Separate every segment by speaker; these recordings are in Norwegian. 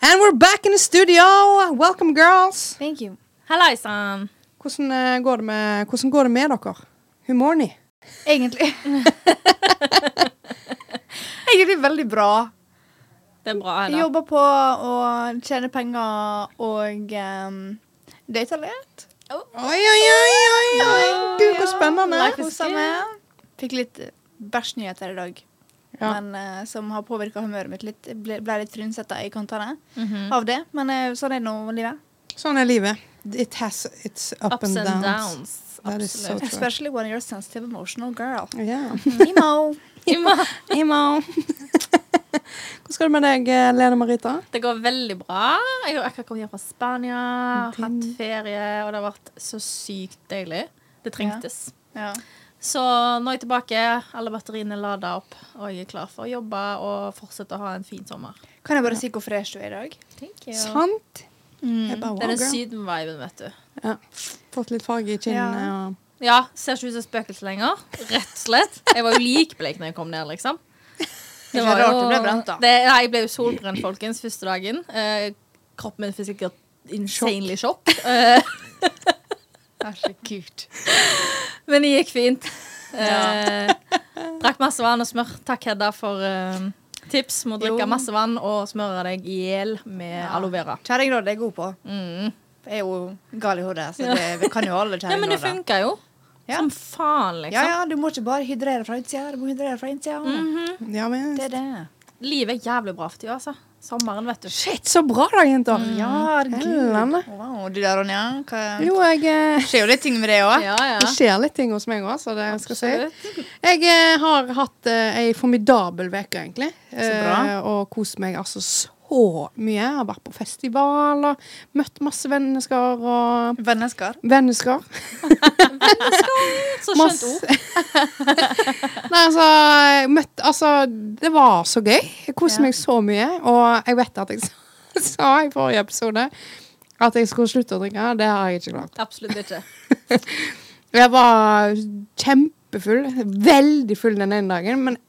Speaker 1: And we're back in the studio! Welcome, girls!
Speaker 2: Thank you. Hallaisann.
Speaker 1: Hvordan, eh, går det med, hvordan går det med dere? Humorny?
Speaker 2: Egentlig. Egentlig veldig bra.
Speaker 3: Det er bra,
Speaker 2: Jeg
Speaker 3: Hedda.
Speaker 2: jobber på å tjene penger og um, date litt.
Speaker 1: Oi, oi, oi, oi! oi. Gud, så spennende!
Speaker 2: Life is good. Fikk litt bæsjnyheter i dag.
Speaker 1: Ja.
Speaker 2: Men, eh, som har påvirka humøret mitt litt. Ble, ble litt trynsetta i kantene
Speaker 3: Mhm.
Speaker 2: av det. Men eh, sånn er det nå, livet.
Speaker 1: Sånn er livet. It has its up
Speaker 3: Ups
Speaker 1: and downs. That is so
Speaker 3: Absolutt.
Speaker 1: true.
Speaker 2: Especially when you're a sensitive emotional girl.
Speaker 1: Yeah.
Speaker 2: Emo.
Speaker 1: Emo. hvordan går det med deg, eh, Lene Marita?
Speaker 3: Det går veldig bra. Jeg har akkurat kommet hjem fra Spania,
Speaker 1: Mm,
Speaker 3: har hatt ferie, og det har vært så sykt deilig. Det trengtes.
Speaker 2: ja.
Speaker 3: Så nå er jeg tilbake, alle batteriene er lada opp, og jeg er klar for å jobbe og fortsette å ha en fin sommer.
Speaker 2: Kan jeg bare si hvor fresh du er i dag?
Speaker 3: Det
Speaker 1: Sant? Jeg bare,
Speaker 3: er
Speaker 1: wow,
Speaker 3: den
Speaker 1: girl.
Speaker 3: syden-viben, vet du.
Speaker 1: Ja. Fått litt farge i kinnene.
Speaker 2: Ja.
Speaker 1: og-
Speaker 3: Ja, ser ikke ut som et spøkelse lenger. Rett og slett. Jeg var jo likbleik når jeg kom ned, liksom.
Speaker 2: Ikke rart du ble brent, da.
Speaker 3: Det, nei, jeg ble jo solbrent, folkens, første dagen. Eh, kroppen min fikk sikkert insanely sjokk. Eh,
Speaker 2: Herregud.
Speaker 3: men det gikk fint. Eh, drakk masse vann og smør. Takk, Hedda, for eh, tips. Må drikke
Speaker 2: Jo.
Speaker 3: masse vann og smøre deg i hjel med
Speaker 2: Ja.
Speaker 3: aloe vera.
Speaker 2: Kjerringråd er jeg god på.
Speaker 3: Mm.
Speaker 2: Jeg er jo gal i hodet, så det vi kan jo alle
Speaker 3: Ja, men det
Speaker 2: kjerringråder.
Speaker 3: funka jo.
Speaker 2: Ja.
Speaker 3: Som faen, liksom.
Speaker 2: Ja, ja, du må ikke bare hydrere fra utsida, du må hydrere fra innsida.
Speaker 3: Mm.
Speaker 1: Ja, men
Speaker 2: Det er det.
Speaker 3: Livet er jævlig bra for tida, altså. Sommeren, vet du.
Speaker 1: Shit, så bra da, jenter!
Speaker 3: Mm.
Speaker 2: Ja,
Speaker 1: Helene.
Speaker 2: herregud. Wow, du da, Ronja? Hva?
Speaker 1: Jo, jeg eh,
Speaker 2: skjer jo litt ting med det òg.
Speaker 3: Ja, ja.
Speaker 1: Det skjer litt ting hos meg òg, så det skal jeg si. Jeg eh, har hatt eh, ei formidabel uke, egentlig.
Speaker 2: bra.
Speaker 1: Eh, og kost meg altså så mye. Jeg har vært på festival og møtt masse mennesker og
Speaker 2: Vennesker.
Speaker 1: Mennesker.
Speaker 3: Så skjønt ord.
Speaker 1: Nei, altså, jeg møtte, altså Det var så gøy. Jeg koste
Speaker 2: Ja.
Speaker 1: meg så mye. Og jeg vet at jeg sa- sa i forrige episode at jeg skulle slutte å drikke. Det har jeg ikke klart.
Speaker 3: Absolutt ikke.
Speaker 1: Jeg var kjempefull. Veldig full den ene dagen. Men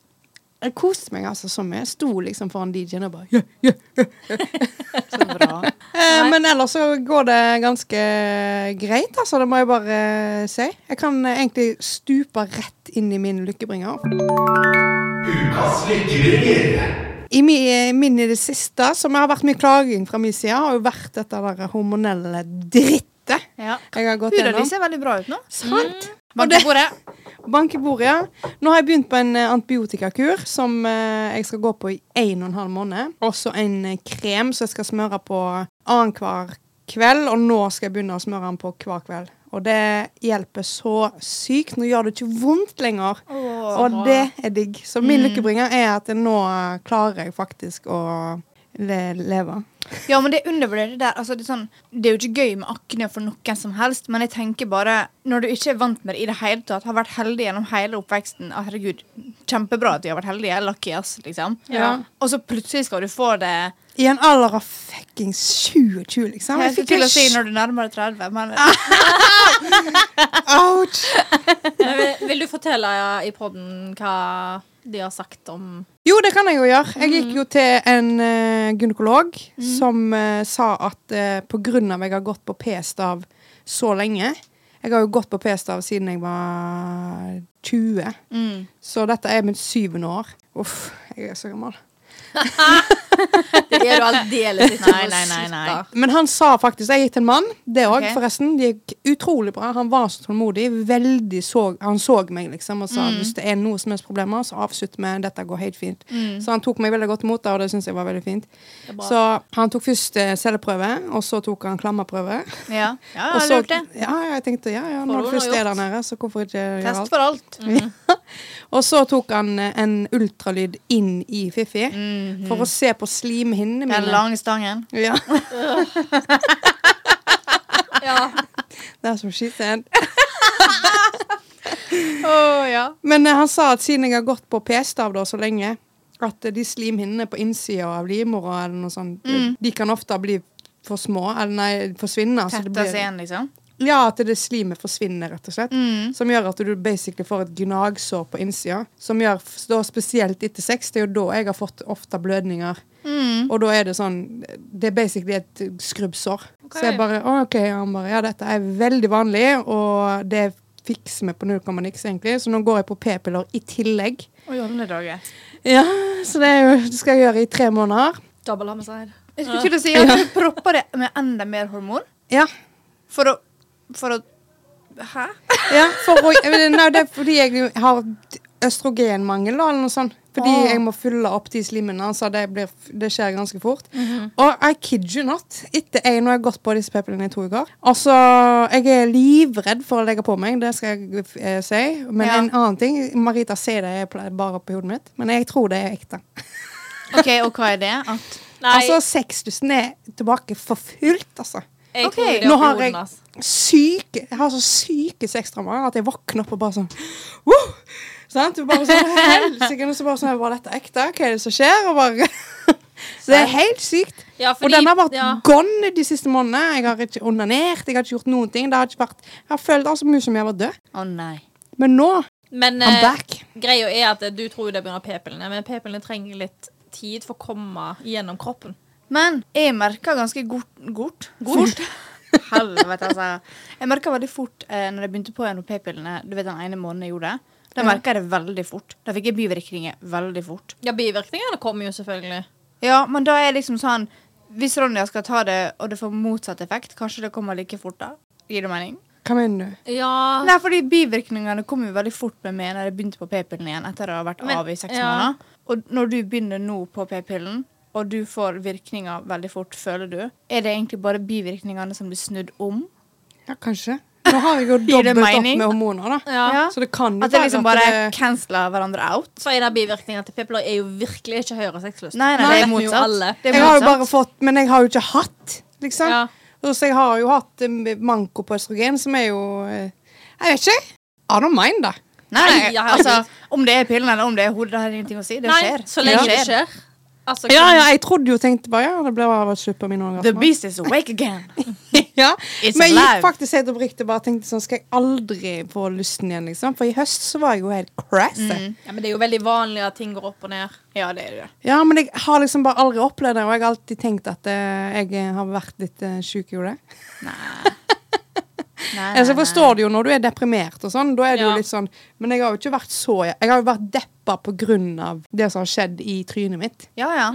Speaker 1: jeg koste meg altså så mye. Jeg sto liksom foran DJ-en og bare «Ja, ja, ja, ja». Eh,
Speaker 3: Nei.
Speaker 1: Men ellers så går det ganske greit, altså. Det må jeg bare eh, si. Jeg kan eh, egentlig stupe rett inn i min lykkebringer.
Speaker 4: Ukas lykkebringer.
Speaker 1: I mi- eh, min i det siste, som har vært mye klaging fra min side, har jo vært dette der hormonelle drittet
Speaker 2: Ja.
Speaker 1: jeg har gått
Speaker 2: Huden din
Speaker 1: gjennom.
Speaker 2: ser veldig bra ut nå.
Speaker 1: Sant?
Speaker 2: Bank i bordet.
Speaker 1: Bank i bordet, ja. Nå har jeg begynt på en eh, antibiotikakur som eh, jeg skal gå på i en og en halv måned. Også en eh, krem som jeg skal smøre på annenhver kveld, og nå skal jeg begynne å smøre den på hver kveld. Og det hjelper så sykt. Nå gjør det ikke vondt lenger.
Speaker 2: Åh,
Speaker 1: Og
Speaker 3: bra.
Speaker 1: det er digg. Så min
Speaker 2: Mm.
Speaker 1: lykkebringer er at jeg nå eh, klarer jeg faktisk å le leve.
Speaker 2: Ja, men det er undervurdert det der. Altså, det, er sånn, det er jo ikke gøy med akne for noen som helst, men jeg tenker bare Når du ikke er vant med det i det hele tatt, har vært heldig gjennom hele oppveksten ah, Herregud, kjempebra at vi har vært heldige. Lucky ass, liksom.
Speaker 1: Ja.
Speaker 2: Og så plutselig skal du få det
Speaker 1: I en alder av fuckings 20-20, liksom.
Speaker 2: Jeg skulle til å si
Speaker 1: en
Speaker 2: når du nærmer deg 30, men
Speaker 1: Ah. Ouch!
Speaker 3: Men Eh, vil, vil du fortelle ja, i podden hva de har sagt om
Speaker 1: Jo, det kan jeg jo gjøre. Jeg gikk jo til en eh, gynekolog som eh, sa at eh, på grunn av jeg har gått på p-stav så lenge Jeg har jo gått på p-stav siden jeg var 20,
Speaker 2: mm.
Speaker 1: så dette er mitt syvende år. Uff, jeg er så gammel.
Speaker 3: Det er du aldeles ikke.
Speaker 2: Nei, nei, nei, nei.
Speaker 3: Slutt, da.
Speaker 1: Men han sa faktisk Jeg gikk til en mann. Det òg,
Speaker 2: Ok.
Speaker 1: forresten. Det gikk utrolig bra. Han var så tålmodig. Veldig så, han så meg, liksom, og sa
Speaker 3: Mm.
Speaker 1: hvis det er noe som helst problemer, så avslutt med dette går helt fint. Så han tok meg veldig godt imot, da, og det syns jeg var veldig fint.
Speaker 3: Mm. Det er bra.
Speaker 1: Så han tok først eh, celleprøve, og så tok han klammaprøve.
Speaker 2: Ja, ja
Speaker 1: og
Speaker 2: jeg
Speaker 1: så,
Speaker 2: lurte.
Speaker 1: ja, jeg tenkte ja, ja,
Speaker 3: Ah, Får
Speaker 1: når
Speaker 3: du
Speaker 1: det først
Speaker 3: noe
Speaker 1: er der nede, så hvorfor ikke gjøre
Speaker 2: Test
Speaker 1: alt? Mm.
Speaker 2: for alt.
Speaker 1: Og så tok han eh, en ultralyd inn i Fifi
Speaker 3: Mhm.
Speaker 1: for å se på slimhinnene
Speaker 2: Den
Speaker 1: mine.
Speaker 2: lange stangen.
Speaker 1: Ja,
Speaker 3: Ja.
Speaker 1: det er som she said.
Speaker 2: Oh, ja.
Speaker 1: Men eh, han sa at siden jeg har gått på p-stav da så lenge, at eh, de slimhinnene på innsida av livmora eller noe sånt, eh, de kan ofte bli for små, eller nei, forsvinne. så det
Speaker 2: Tetta
Speaker 1: blir-
Speaker 2: seg igjen, liksom.
Speaker 1: Ja, at det slimet forsvinner, rett og slett.
Speaker 2: Mm.
Speaker 1: Som gjør at du basically får et gnagsår på innsida. Som gjør f- da spesielt etter sex. Det er jo da jeg har fått ofte blødninger.
Speaker 2: Mm.
Speaker 1: Og da er det sånn Det er basically et skrubbsår.
Speaker 3: Ok.
Speaker 1: Så jeg bare «Å, OK. Han bare Ja, dette er veldig vanlig, og det fikser vi på null komma niks, egentlig. Så nå går jeg på p-piller i tillegg.
Speaker 2: Og i alle dager.
Speaker 1: Ja, så det, er jo, det skal jeg gjøre i tre måneder.
Speaker 3: Double homicide.
Speaker 2: Jeg skulle til å si at du propper det med enda mer hormon
Speaker 1: Ja.
Speaker 2: for å, for å Hæ?
Speaker 1: ja for å, eh, nei, det er fordi jeg har østrogenmangel, da, eller noe sånt. Fordi
Speaker 2: Åh.
Speaker 1: jeg må fylle opp de slimmene, så det, blir, det skjer ganske fort. Og I kid you not, etter jeg, nå har jeg gått på disse p-pillene i to uker Altså, jeg er livredd for å legge på meg, det skal jeg eh, si. Men
Speaker 2: Ja.
Speaker 1: en annen ting Marita sier det jeg pleier bare oppi hodet mitt, men jeg tror det er ekte.
Speaker 2: OK, og hva er det? At
Speaker 3: Nei,
Speaker 1: Altså, sexlysten er tilbake for fullt, altså.
Speaker 3: jeg
Speaker 2: ok.
Speaker 3: tror det er
Speaker 1: Nå har jeg-
Speaker 3: hormonene.
Speaker 2: altså.
Speaker 3: ass.
Speaker 1: syke Jeg har så syke sextraumer at jeg våkner opp og bare sånn «Wow!» Sant? Du bare sånn Helsike! Og så bare sånn Var dette ekte? Hva er det som skjer? Og bare Så det er helt sykt.
Speaker 3: Ja, fordi,
Speaker 1: og den har vært
Speaker 3: ja.
Speaker 1: gone de siste månedene. Jeg har ikke onanert, jeg har ikke gjort noen ting. Det har ikke vært Jeg har følt altså mye som jeg var død.
Speaker 2: Å nei.
Speaker 1: Men nå
Speaker 3: Men
Speaker 1: I'm
Speaker 3: eh,
Speaker 1: back.
Speaker 3: greia er at eh, du tror jo det begynner p-pillene, men p-pillene trenger litt tid for å komme gjennom kroppen.
Speaker 2: Men jeg merker ganske godt Godt? Fort. Helvete, altså. Jeg merka veldig fort eh, når jeg begynte på NOP-pillene Du vet den ene måneden jeg gjorde det. Da merka jeg det veldig fort. Da fikk jeg bivirkninger veldig fort.
Speaker 3: Ja, bivirkningene kommer jo selvfølgelig.
Speaker 2: Ja, men da er jeg liksom sånn Hvis Ronja skal ta det, og det får motsatt effekt, kanskje det kommer like fort da? Gir det mening?
Speaker 1: Hva mener du?
Speaker 3: Ja,
Speaker 2: Nei, fordi bivirkningene kom jo veldig fort med meg når jeg begynte på p-pillen igjen etter å ha vært
Speaker 3: Men-
Speaker 2: av i seks
Speaker 3: ja.
Speaker 2: måneder. Og når du begynner nå på p-pillen, og du får virkninger veldig fort, føler du, er det egentlig bare bivirkningene som blir snudd om?
Speaker 1: Ja, kanskje. Nå har jeg jo
Speaker 2: Gir det
Speaker 1: dobbelt opp
Speaker 2: mening?
Speaker 1: med hormoner, da.
Speaker 3: ja.
Speaker 2: Ja.
Speaker 1: Så det kan jo
Speaker 2: At det liksom
Speaker 1: være
Speaker 2: bare
Speaker 1: at det-
Speaker 2: canceler hverandre out?
Speaker 3: Så er det bivirkningene til p-piller er jo virkelig ikke høyere sexlyst.
Speaker 2: Nei, nei, det
Speaker 3: vet
Speaker 2: er
Speaker 3: vi jo alle.
Speaker 2: motsatt. Det er
Speaker 1: Jeg har jo
Speaker 2: motsatt.
Speaker 1: bare fått Men jeg har jo ikke hatt, liksom.
Speaker 3: Ja.
Speaker 1: Og Så jeg har jo hatt eh, manko på østrogen, som er jo eh, Jeg vet ikke. I don't mind, da.
Speaker 2: Nei,
Speaker 3: Nei,
Speaker 2: nei,
Speaker 3: ja,
Speaker 2: altså,
Speaker 3: herregud.
Speaker 2: om det er pillen eller om det er hodet, det har ingenting å si. Det
Speaker 3: Nei,
Speaker 2: skjer.
Speaker 3: så lenge
Speaker 2: det
Speaker 3: det
Speaker 2: skjer.
Speaker 3: skjer. Altså,
Speaker 1: Ja,
Speaker 3: kan-
Speaker 1: ja, jeg trodde jo tenkte bare ja, det ble bare slutt på min
Speaker 2: The
Speaker 1: orgasme.
Speaker 2: beast is awake again.
Speaker 1: ja.
Speaker 2: It's
Speaker 1: Men jeg
Speaker 2: alive.
Speaker 1: gikk faktisk helt oppriktig bare tenkte sånn Skal jeg aldri få lysten igjen, liksom? For i høst så var jeg jo helt crazy.
Speaker 2: Mm.
Speaker 3: Ja, men det er jo veldig vanlig at ting går opp og ned.
Speaker 2: Ja, det er det.
Speaker 1: Ja, men jeg har liksom bare aldri opplevd det, og jeg har alltid tenkt at eh, jeg har vært litt uh, sjuk i hodet.
Speaker 2: Nei,
Speaker 1: Altså, jeg
Speaker 2: nei,
Speaker 1: forstår det jo når du er deprimert og sånn. Da er det
Speaker 3: Eh. Ja.
Speaker 1: jo litt sånn Men jeg har jo ikke vært så Jeg har jo vært deppa på grunn av det som har skjedd i trynet mitt.
Speaker 2: nei. Ja, ja.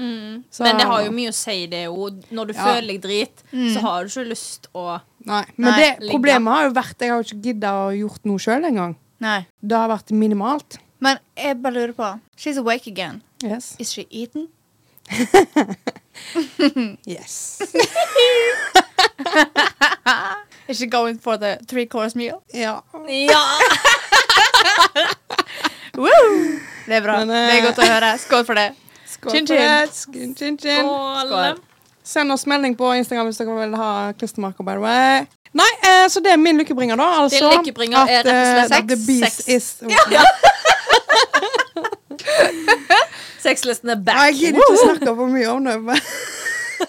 Speaker 1: Så-
Speaker 3: Mm. Men det har jo mye å si, det jo. Når du
Speaker 1: Ja.
Speaker 3: føler deg drit, så har du ikke lyst å
Speaker 1: Nei, men
Speaker 2: Nei,
Speaker 1: det
Speaker 3: ligge.
Speaker 1: problemet har jo vært Jeg har jo ikke gidda å gjort noe sjøl engang.
Speaker 2: Nei.
Speaker 1: Det har vært minimalt.
Speaker 2: Men jeg bare lurer på She's awake again.
Speaker 1: Yes.
Speaker 2: Is she eaten? Is she going for the three course meal?
Speaker 1: Ja.
Speaker 3: Ja!
Speaker 2: Det er bra.
Speaker 1: Men, eh,
Speaker 2: det er godt å høre. Skål for det.
Speaker 1: Skål
Speaker 2: Chin,
Speaker 1: for
Speaker 2: chin.
Speaker 1: det. Chin, chin, chin.
Speaker 3: Skål.
Speaker 1: Send oss melding på Instagram hvis dere vil ha klistremerker, by the way. Nei, eh, så det er min lykkebringer, da. Altså,
Speaker 3: Din lykkebringer er rett og slett
Speaker 1: eh, The
Speaker 3: sex.
Speaker 1: beast
Speaker 3: Sex.
Speaker 1: is
Speaker 3: Sexlysten er
Speaker 1: Nei,
Speaker 3: back.
Speaker 1: Jeg gidder ikke å snakke for mye om det. men-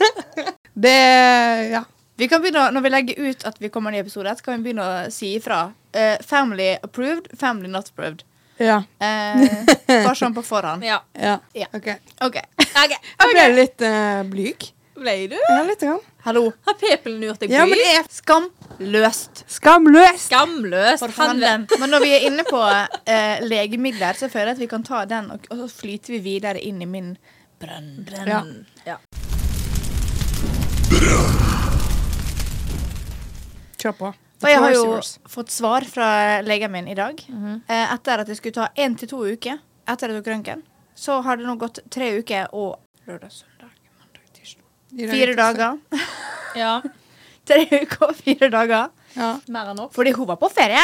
Speaker 1: det er- Ja.
Speaker 2: Vi kan begynne, å- Når vi legger ut at vi kommer i episode, så kan vi begynne å si ifra. Eh, family approved, family not approved.
Speaker 1: Ja.
Speaker 2: Eh, bare sånn på forhånd.
Speaker 3: Ja.
Speaker 1: ja.
Speaker 2: Ja.
Speaker 1: OK. Jeg
Speaker 2: OK.
Speaker 3: Okay.
Speaker 1: ble litt eh, blyg.
Speaker 3: Ble du?
Speaker 1: Ja, litt. Grann.
Speaker 2: Hallo.
Speaker 3: Har p-pillen gjort deg
Speaker 1: Ja, men
Speaker 3: blyg?
Speaker 1: det er
Speaker 2: Skamløst.
Speaker 1: skamløst!
Speaker 3: Skamløst. Helvete.
Speaker 2: Men når vi er inne på eh, legemidler, så føler jeg at vi kan ta den, og, og så flyter vi videre inn i min brønn.
Speaker 1: Ja.
Speaker 3: Ja.
Speaker 1: Kjør på.
Speaker 2: Og jeg har
Speaker 1: Floor is
Speaker 2: jo
Speaker 1: yours.
Speaker 2: fått svar fra legen min i dag. eh, etter at det skulle ta én til to uker etter jeg tok røntgen, så har det nå gått tre uker og lørdag, søndag, mandag, tirsdag
Speaker 1: I dag
Speaker 2: Fire
Speaker 1: er det
Speaker 2: dager.
Speaker 3: ja.
Speaker 2: tre uker og fire dager.
Speaker 1: ikke så- Ja,
Speaker 3: Mer enn nok.
Speaker 2: Fordi hun var på ferie!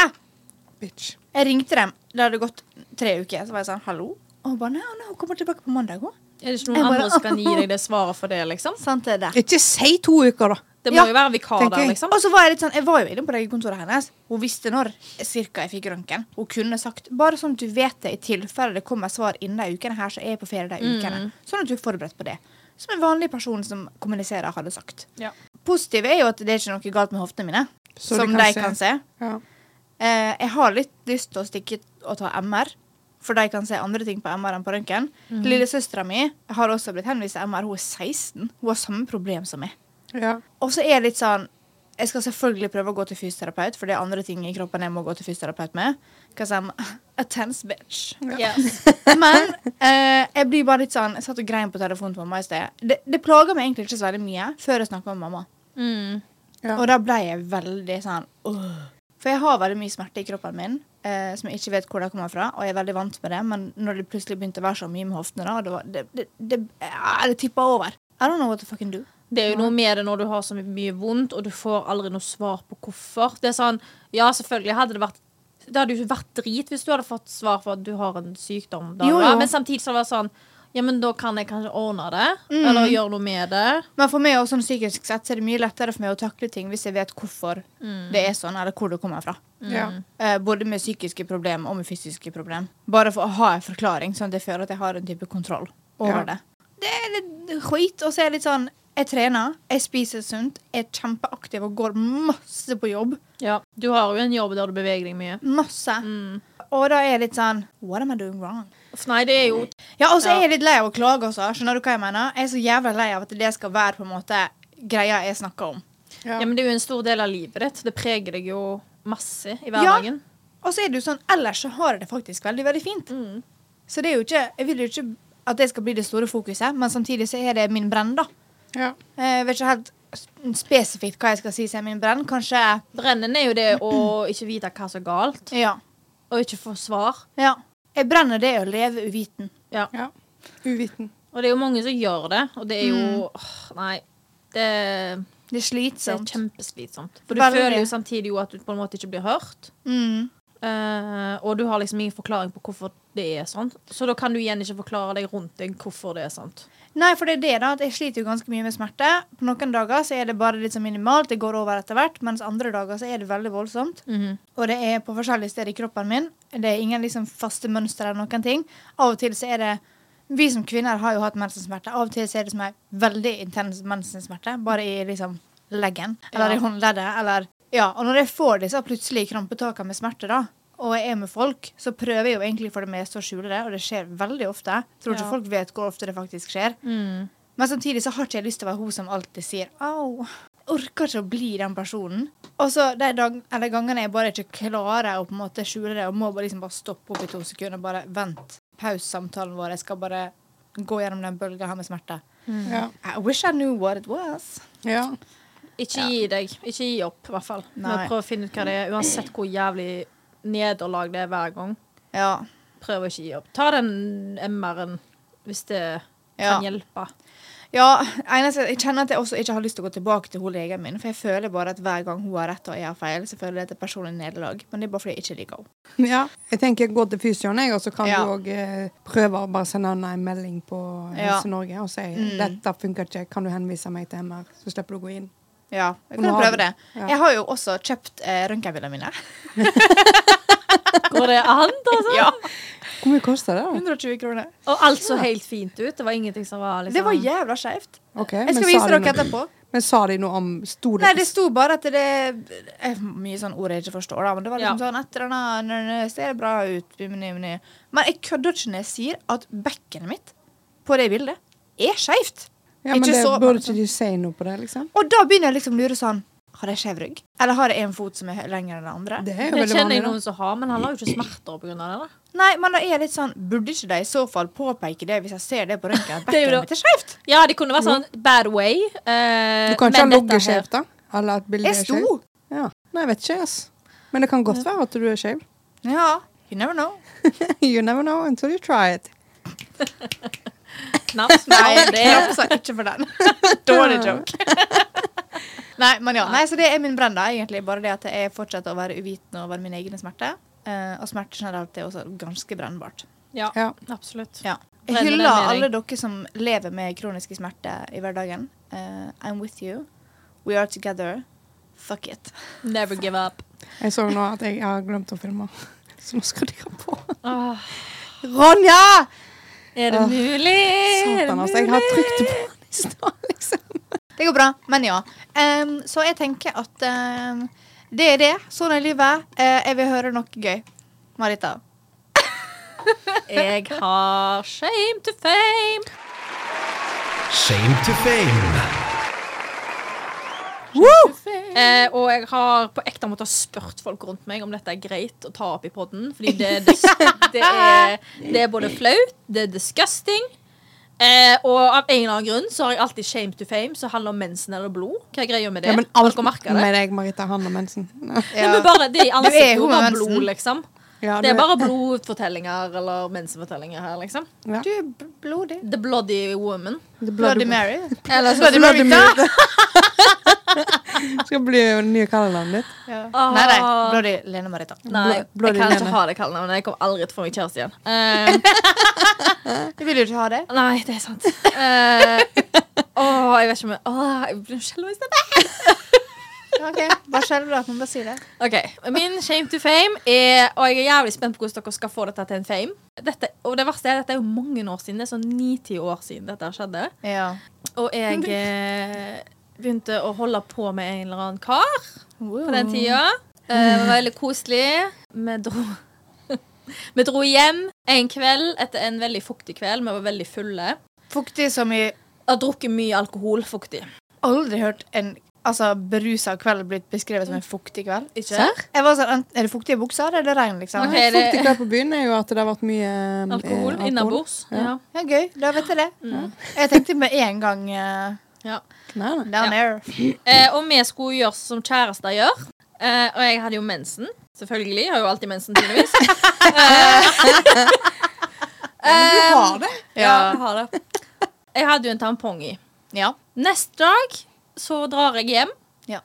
Speaker 1: bitch.
Speaker 2: Jeg ringte dem. Det hadde gått tre uker. Så var jeg sånn hallo? Og hun bare nei, nei, hun kommer tilbake på mandag hun.
Speaker 3: Er det ikke noen
Speaker 2: Jeg bare-
Speaker 3: andre som kan gi deg det svaret for det, liksom?
Speaker 2: Sant det der.
Speaker 1: Ikke si to uker, da.
Speaker 3: Det må
Speaker 2: Ja,
Speaker 3: jo være en vikar
Speaker 1: tenker
Speaker 3: der,
Speaker 1: jeg.
Speaker 3: liksom.
Speaker 2: Og så var jeg litt sånn, jeg var jo inne på legekontoret hennes. Hun visste når cirka jeg fikk røntgen. Hun kunne sagt bare sånn at du vet det, i tilfelle det kommer svar innen de ukene her, så er jeg på ferie de ukene. Sånn at du er forberedt på det. Som en vanlig person som kommuniserer, hadde sagt.
Speaker 3: Ja.
Speaker 2: Positivt er jo at det er ikke noe galt med hoftene mine,
Speaker 1: Så
Speaker 2: som
Speaker 1: de
Speaker 2: de
Speaker 1: kan
Speaker 2: kan
Speaker 1: se.
Speaker 2: se.
Speaker 1: Ja.
Speaker 2: Eh, jeg har litt lyst til å stikke og ta MR. for de kan se andre ting på MR enn på røntgen. Lillesøstera mi har også blitt henvist til MR. Hun er 16. Hun har samme problem som meg.
Speaker 1: Ja.
Speaker 2: Og så er det litt sånn Jeg skal selvfølgelig prøve å gå til fysioterapeut, for det er andre ting i kroppen jeg må gå til fysioterapeut med. Because I'm a tense bitch.
Speaker 3: Yes.
Speaker 2: Men eh, jeg blir bare litt sånn Jeg satt og grein på telefonen til mamma i sted. Det, det plager meg egentlig ikke så veldig mye før jeg snakker med mamma.
Speaker 3: Mm.
Speaker 1: Ja.
Speaker 2: Og da ble jeg veldig sånn «Åh». For jeg har veldig mye smerte i kroppen min eh, som jeg ikke vet hvor det kommer fra, og jeg er veldig vant med det, men når det plutselig begynte å være så mye med hoftene, da, det, var, det, det, det, ja, det tippa over. I don't know what to fucking do.
Speaker 3: Det er jo noe med det når du har så mye vondt, og du får aldri noe svar på hvorfor. Det er sånn, ja, selvfølgelig hadde det vært Det hadde jo vært drit hvis du hadde fått svar på at du har en sykdom. Da,
Speaker 2: Jo,
Speaker 3: da.
Speaker 2: jo.
Speaker 3: Men samtidig så var det sånn Ja, men da kan jeg kanskje ordne det, eller gjøre noe med det.
Speaker 2: Men for meg også, sånn psykisk sett så er det mye lettere for meg å takle ting hvis jeg vet hvorfor det er sånn, eller hvor det kommer fra.
Speaker 1: Ja.
Speaker 2: Eh, både med psykiske problemer og med fysiske problemer. Bare for å ha en forklaring, sånn at jeg føler at jeg har en type kontroll
Speaker 1: Ja.
Speaker 2: over det. Det er litt skit. Og så er det litt sånn Jeg trener, jeg spiser sunt, jeg er kjempeaktiv og går masse på jobb.
Speaker 3: Ja, Du har jo en jobb der du beveger deg mye.
Speaker 2: Masse.
Speaker 3: Mm.
Speaker 2: Og da er jeg litt sånn What am I doing wrong?
Speaker 3: Uff, nei, det er jo
Speaker 2: Ja, og så er
Speaker 3: Ja.
Speaker 2: jeg litt lei av å klage også. Skjønner du hva jeg mener? Jeg er så jævla lei av at det skal være på en måte greia jeg snakker om.
Speaker 1: Ja.
Speaker 3: Ja, men det er jo en stor del av livet ditt. Det preger deg jo masse i hverdagen.
Speaker 2: Og så er det jo sånn, ellers så har jeg det faktisk veldig, veldig fint. Så det er jo ikke, jeg vil jo ikke at det skal bli det store fokuset, men samtidig så er det min brenn, da. Eh,
Speaker 1: Ja.
Speaker 2: Jeg vet ikke helt s- spesifikt hva jeg skal si som er min brenn. Kanskje
Speaker 3: Brennen er jo det å ikke vite hva som er galt,
Speaker 2: Ja.
Speaker 3: og ikke få svar.
Speaker 2: ja. Jeg brenner det å leve uviten.
Speaker 3: Ja.
Speaker 1: ja. Uviten.
Speaker 3: Og det er jo mange som gjør det, og det er jo
Speaker 2: Mm.
Speaker 3: åh, Nei. Det,
Speaker 2: Det er
Speaker 3: det er
Speaker 2: slitsomt.
Speaker 3: kjempeslitsomt. For du
Speaker 2: Veldig.
Speaker 3: føler jo samtidig jo at du på en måte ikke blir hørt.
Speaker 2: mm.
Speaker 3: eh, og du har liksom ingen forklaring på hvorfor det er sånn. Så da kan du igjen ikke forklare deg rundt deg hvorfor det er sånt.
Speaker 2: Nei, for det er det, da. At jeg sliter jo ganske mye med smerte. På noen dager så er det bare litt sånn minimalt, det går over etter hvert. Mens andre dager så er det veldig voldsomt.
Speaker 3: Mhm.
Speaker 2: Og det er på forskjellige steder i kroppen min. Det er ingen liksom faste mønster eller noen ting. Av og til så er det Vi som kvinner har jo hatt mensensmerte. Av og til så er det som en veldig intens mensensmerte, bare i liksom leggen eller
Speaker 3: Ja.
Speaker 2: i håndleddet eller Ja. Og når jeg får disse plutselige krampetakene med smerte, da, og jeg er med folk, så prøver jeg jo egentlig for det meste å skjule det, og det skjer veldig ofte. Tror ikke
Speaker 3: Ja.
Speaker 2: folk vet hvor ofte det faktisk skjer. Men samtidig så har ikke jeg lyst til å være hun som alltid sier au. Orker ikke å bli den personen. Og så de dag, eller gangene jeg bare ikke klarer å på en måte skjule det og må bare liksom bare stoppe opp i to sekunder og bare vent. Paus samtalen vår. Jeg skal bare gå gjennom den bølga her med smerte.
Speaker 1: Ja.
Speaker 2: I wish I knew what it was.
Speaker 1: ja.
Speaker 3: Ikke gi deg. Ikke gi opp, i hvert fall.
Speaker 2: Nei.
Speaker 3: Men prøv å finne ut hva det er, uansett hvor jævlig nederlag det er hver gang.
Speaker 2: Ja.
Speaker 3: Prøv å ikke gi opp. Ta den MR-en hvis det
Speaker 2: Ja.
Speaker 3: kan hjelpe.
Speaker 2: ja eneste, jeg kjenner at jeg også ikke har lyst til å gå tilbake til hun legen min, for jeg føler bare at hver gang hun har rett og jeg har feil, så føler jeg at det er personlig nederlag. Men det er bare fordi jeg ikke liker henne.
Speaker 1: ja. Jeg tenker gå til fysioen, jeg, og så kan
Speaker 2: Ja.
Speaker 1: du òg eh, prøve å bare sende henne en melding på
Speaker 2: Ja.
Speaker 1: Helse Norge og si
Speaker 2: Mm.
Speaker 1: 'dette funker ikke, kan du henvise meg til MR', så slipper du å gå inn.
Speaker 2: Ja, jeg
Speaker 1: Hun
Speaker 2: kan
Speaker 1: har
Speaker 2: prøve det.
Speaker 1: det. Ja.
Speaker 2: Jeg har jo også kjøpt eh, røntgenbildene mine.
Speaker 3: Går det an, altså?
Speaker 2: Ja.
Speaker 1: Hvor mye koster det, da?
Speaker 2: 120 kroner.
Speaker 3: Og alt så helt fint ut. Det var ingenting som var liksom
Speaker 2: Det var jævla skeivt.
Speaker 1: Ok,
Speaker 2: Jeg skal
Speaker 1: men sa
Speaker 2: vise
Speaker 1: de
Speaker 2: dere
Speaker 1: noe-
Speaker 2: etterpå.
Speaker 1: Men sa de noe om Sto det
Speaker 2: Nei, det sto bare at det er mye sånn ord jeg ikke forstår, da. Men det var liksom
Speaker 3: Ja.
Speaker 2: sånn etter denne nø, nø, ser bra ut. bim, bim, bim. Men jeg kødder ikke når jeg sier at bekkenet mitt på det bildet er skeivt.
Speaker 1: ja, men
Speaker 2: ikke
Speaker 1: det,
Speaker 2: så-
Speaker 1: Burde ikke de si noe på det, liksom?
Speaker 2: Og da begynner jeg liksom å lure sånn Har jeg skjev rygg? Eller har jeg en fot som er lengre enn den andre?
Speaker 1: Det er jo
Speaker 3: Det
Speaker 1: veldig
Speaker 3: kjenner
Speaker 1: vanlig.
Speaker 3: jeg
Speaker 1: da.
Speaker 3: noen som har, men han har jo ikke smerter pga. det. da.
Speaker 2: Nei, men da er jeg litt sånn Burde ikke de i så fall påpeke det hvis jeg ser det på røntgen? at
Speaker 3: Det er jo
Speaker 2: Bekkenet
Speaker 3: det.
Speaker 2: mitt er skeivt!
Speaker 3: Ja, det kunne vært sånn bad way. eh,
Speaker 1: Du kan ikke ha
Speaker 3: men dette
Speaker 1: logget
Speaker 3: her-
Speaker 1: skjevt, da? Eller at bildet
Speaker 2: Jeg
Speaker 1: er
Speaker 2: sto!
Speaker 1: skjevt? Ja. Nei, jeg vet ikke, ass. Men det kan godt være at du er skeiv.
Speaker 2: Ja. You never know.
Speaker 1: you never know until you try it.
Speaker 3: Knapt,
Speaker 2: Nei,
Speaker 3: men
Speaker 2: det
Speaker 3: det er
Speaker 2: sa ikke for den. Dårlig joke. Nei, men ja. Nei, så det er min brenn, da. egentlig. Bare det at jeg fortsetter å være uvitende over mine egne smerter. Eh, og smerte generelt er også ganske brennbart.
Speaker 3: Ja,
Speaker 1: Ja.
Speaker 3: absolutt.
Speaker 2: Ja. Jeg
Speaker 3: Brenner det med
Speaker 2: hyller
Speaker 3: deg.
Speaker 2: alle dere som lever med kroniske smerter i hverdagen. Eh, I'm with you. We are together. Fuck it.
Speaker 3: Never give up.
Speaker 1: Jeg så nå at jeg har glemt å filme. Så nå skrudde jeg på.
Speaker 3: Åh,
Speaker 1: Ronja!
Speaker 3: er det
Speaker 1: Åh,
Speaker 3: mulig? Er det
Speaker 1: Satan, altså. Jeg har
Speaker 3: mulig?
Speaker 1: trykt på den i stad, liksom.
Speaker 2: Det går bra, men ja. Em, så jeg tenker at em, det er det. Sånn er livet. Eh, jeg vil høre noe gøy. Marita.
Speaker 3: Jeg har shame to fame.
Speaker 4: Shame to fame.
Speaker 3: Eh, og jeg har på ekte måte spurt folk rundt meg om dette er greit å ta opp i podden. Fordi det, er dis- det, er, det er både flaut, det er disgusting. Eh, og av en eller annen grunn så har jeg alltid shame to fame, som handler om mensen eller blod. Hva er greia med det?
Speaker 1: Ja, men alt
Speaker 3: Dere merker det?
Speaker 1: med deg, Marita Hanna Mensen.
Speaker 3: Nei, men bare, det
Speaker 2: Du
Speaker 3: i
Speaker 2: er
Speaker 3: ansiktet
Speaker 2: jo
Speaker 3: og bare
Speaker 2: med mensen.
Speaker 3: blod, liksom.
Speaker 1: Ja, du-
Speaker 3: Det er bare blodfortellinger eller mensenfortellinger her, liksom.
Speaker 1: Ja.
Speaker 2: Du er bl- blodig.
Speaker 3: The Bloody Woman.
Speaker 1: The
Speaker 2: Bloody
Speaker 1: Bloody
Speaker 2: Mary.
Speaker 3: Eller
Speaker 2: Bloody
Speaker 3: sånn
Speaker 2: Mary. da!
Speaker 1: Skal bli det nye kallenavnet ditt.
Speaker 2: Ja.
Speaker 3: Ah.
Speaker 2: Nei, nei. Bloody Lene Marita.
Speaker 3: Nei,
Speaker 1: Bloody
Speaker 3: jeg kan ikke
Speaker 1: Lene.
Speaker 3: ha det kallenavnet. Jeg kommer aldri til å få meg kjæreste igjen. Eh,
Speaker 2: Jeg vil jo ikke ha det.
Speaker 3: Nei, det er sant. Eh, åh, jeg vet ikke om jeg Åh, jeg blir skjelven i stedet.
Speaker 2: Ja, Ok, Bare skjelv at man bare sier det.
Speaker 3: OK. Min shame to fame er Og jeg er jævlig spent på hvordan dere skal få dette til en fame. Dette, og det verste er at dette er jo mange år siden. Det er sånn ni-ti år siden dette her skjedde.
Speaker 2: Ja.
Speaker 3: Og jeg eh, begynte å holde på med en eller annen kar på den tida. Eh, det var veldig koselig. Vi dro Vi dro hjem en kveld etter en veldig fuktig kveld. Vi var veldig fulle.
Speaker 2: Fuktig som i
Speaker 3: Jeg har drukket mye alkohol fuktig.
Speaker 2: aldri hørt en altså, berusa kveld blitt beskrevet som en fuktig kveld.
Speaker 3: Ikke?
Speaker 2: Jeg var sånn, enten Er det fuktige bukser, eller er det regn, liksom?
Speaker 3: Ok.
Speaker 1: Okay,
Speaker 3: det-
Speaker 1: Fuktig kveld på byen er jo at det har vært mye eh,
Speaker 3: Alkohol innabords.
Speaker 1: Ja.
Speaker 3: Ja.
Speaker 2: Ja, Gøy. Da vet jeg det.
Speaker 3: Mm.
Speaker 2: Jeg tenkte med en gang eh,
Speaker 3: Ja.
Speaker 1: Nei,
Speaker 3: Um,
Speaker 1: nei.
Speaker 2: down there.
Speaker 3: Eh, og vi skulle gjøre som kjærester gjør. Eh, og jeg hadde jo mensen. Selvfølgelig. Jeg har jo alltid mensen, tydeligvis. eh,
Speaker 1: Du har det.
Speaker 3: ja, jeg har det. Jeg hadde jo en tampong i.
Speaker 2: Ja.
Speaker 3: Neste dag så drar jeg hjem.
Speaker 2: Ja.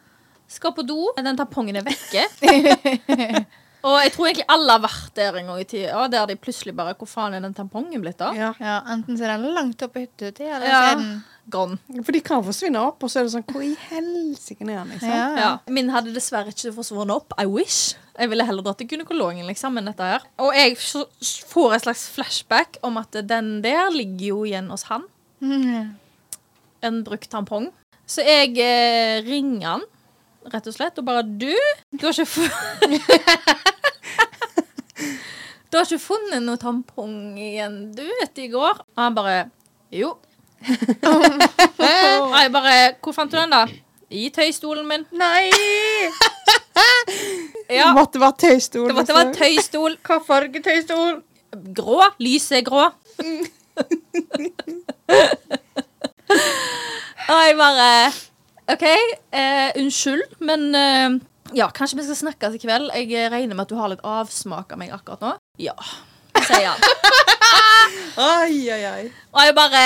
Speaker 3: Skal på do. Den tampongen er vekke. og jeg tror egentlig alle har vært der en gang i tida, der de plutselig bare Hvor faen er den tampongen blitt av?
Speaker 1: Ja.
Speaker 2: ja. Enten så er den langt opp i hytta til, eller så
Speaker 3: Ja.
Speaker 2: er den
Speaker 3: Gone.
Speaker 1: For de kan forsvinne opp, og så er det sånn Hvor i helsike er han?
Speaker 3: Sånn,
Speaker 1: Liksom?
Speaker 2: Ja, ja.
Speaker 3: Ja. Min hadde dessverre ikke forsvunnet opp. I wish. Jeg ville heller dratt til gynekologen liksom, enn dette her. Og jeg så- får en slags flashback om at den der ligger jo igjen hos han.
Speaker 2: Mm.
Speaker 3: En brukt tampong. Så jeg eh, ringer han, rett og slett, og bare Du, du har ikke funnet Du har ikke funnet noe tampong igjen, du, etter i går? Og han bare Jo. Og jeg bare Hvor fant du den, da? I tøystolen min.
Speaker 2: Nei!
Speaker 3: Ja.
Speaker 1: Måtte være altså. tøystol.
Speaker 3: Det måtte være en tøystol.
Speaker 2: Hva fargetøystol?
Speaker 3: Grå. Lysegrå. Og jeg bare OK, eh, unnskyld, men eh, ja, kanskje vi skal snakkes i kveld? Jeg eh, regner med at du har litt avsmak av meg akkurat nå? Ja, sier han.
Speaker 1: Ai, ai, ai.
Speaker 3: Og jeg bare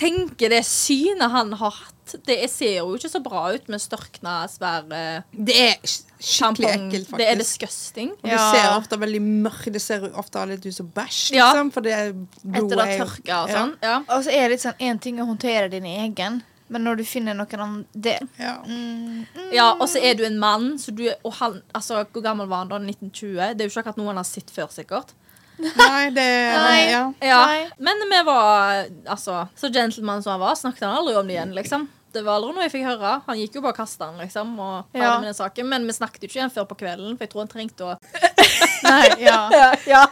Speaker 3: tenker det synet han har hatt. Det ser jo ikke så bra ut med størkna, svær eh,
Speaker 1: Det er sk- skikkelig
Speaker 3: tampong.
Speaker 1: ekkelt, faktisk.
Speaker 3: Det er disgusting.
Speaker 1: Og det
Speaker 2: Ja.
Speaker 1: ser ofte veldig mørkt Det ser ofte litt ut som bæsj,
Speaker 3: Ja.
Speaker 1: liksom. For det er blodet
Speaker 3: Etter det
Speaker 1: er jo-
Speaker 3: tørka og
Speaker 1: Ja.
Speaker 3: sånn. Ja.
Speaker 2: Og så er det litt sånn én ting å håndtere din egen, men når du finner noen andre Det
Speaker 1: Ja.
Speaker 3: Ja, og så er du en mann, så du, og han, altså, hvor gammel var han da? 1920? Det er jo ikke akkurat noe han har sett før, sikkert.
Speaker 1: Nei, det
Speaker 2: Nei.
Speaker 1: Ja.
Speaker 3: Ja.
Speaker 2: Nei.
Speaker 3: Men vi var altså, så gentleman som han var, snakket han aldri om det igjen, liksom. Det var aldri noe jeg fikk høre. Han gikk jo bare og kastet han, liksom, og ferdig
Speaker 2: Ja.
Speaker 3: med den saken. Men vi snakket jo ikke igjen før på kvelden, for jeg tror han trengte å
Speaker 2: Nei, ja.